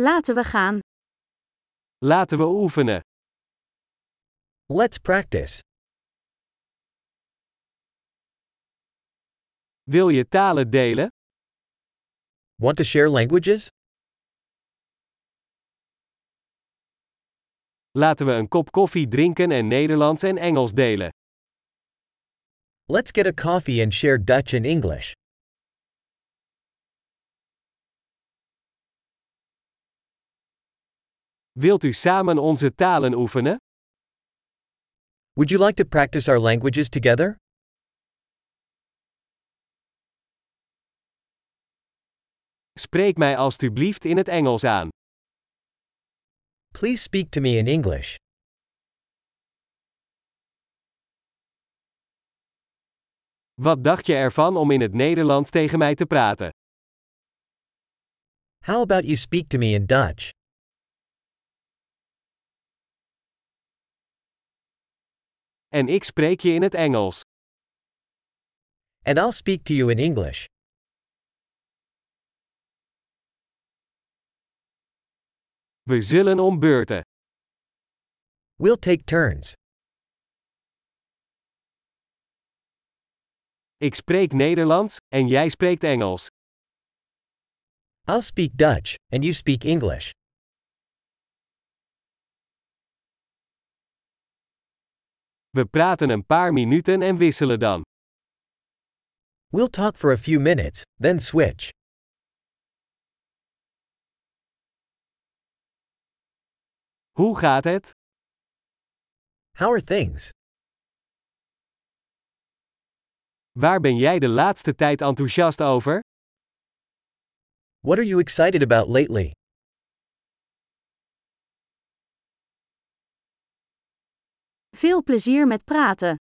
Laten we gaan. Laten we oefenen. Let's practice. Wil je talen delen? Want to share languages? Laten we een kop koffie drinken en Nederlands en Engels delen. Let's get a coffee and share Dutch and English. Wilt u samen onze talen oefenen? Would you like to practice our languages together? Spreek mij alstublieft in het Engels aan. Please speak to me in English. Wat dacht je ervan om in het Nederlands tegen mij te praten? How about you speak to me in Dutch? En ik spreek je in het Engels. And I'll speak to you in English. We zullen om beurten. We'll take turns. Ik spreek Nederlands en jij spreekt Engels. I'll speak Dutch, and you speak English. We praten een paar minuten en wisselen dan. We'll talk for a few minutes, then switch. Hoe gaat het? How are things? Waar ben jij de laatste tijd enthousiast over? What are you excited about lately? Veel plezier met praten.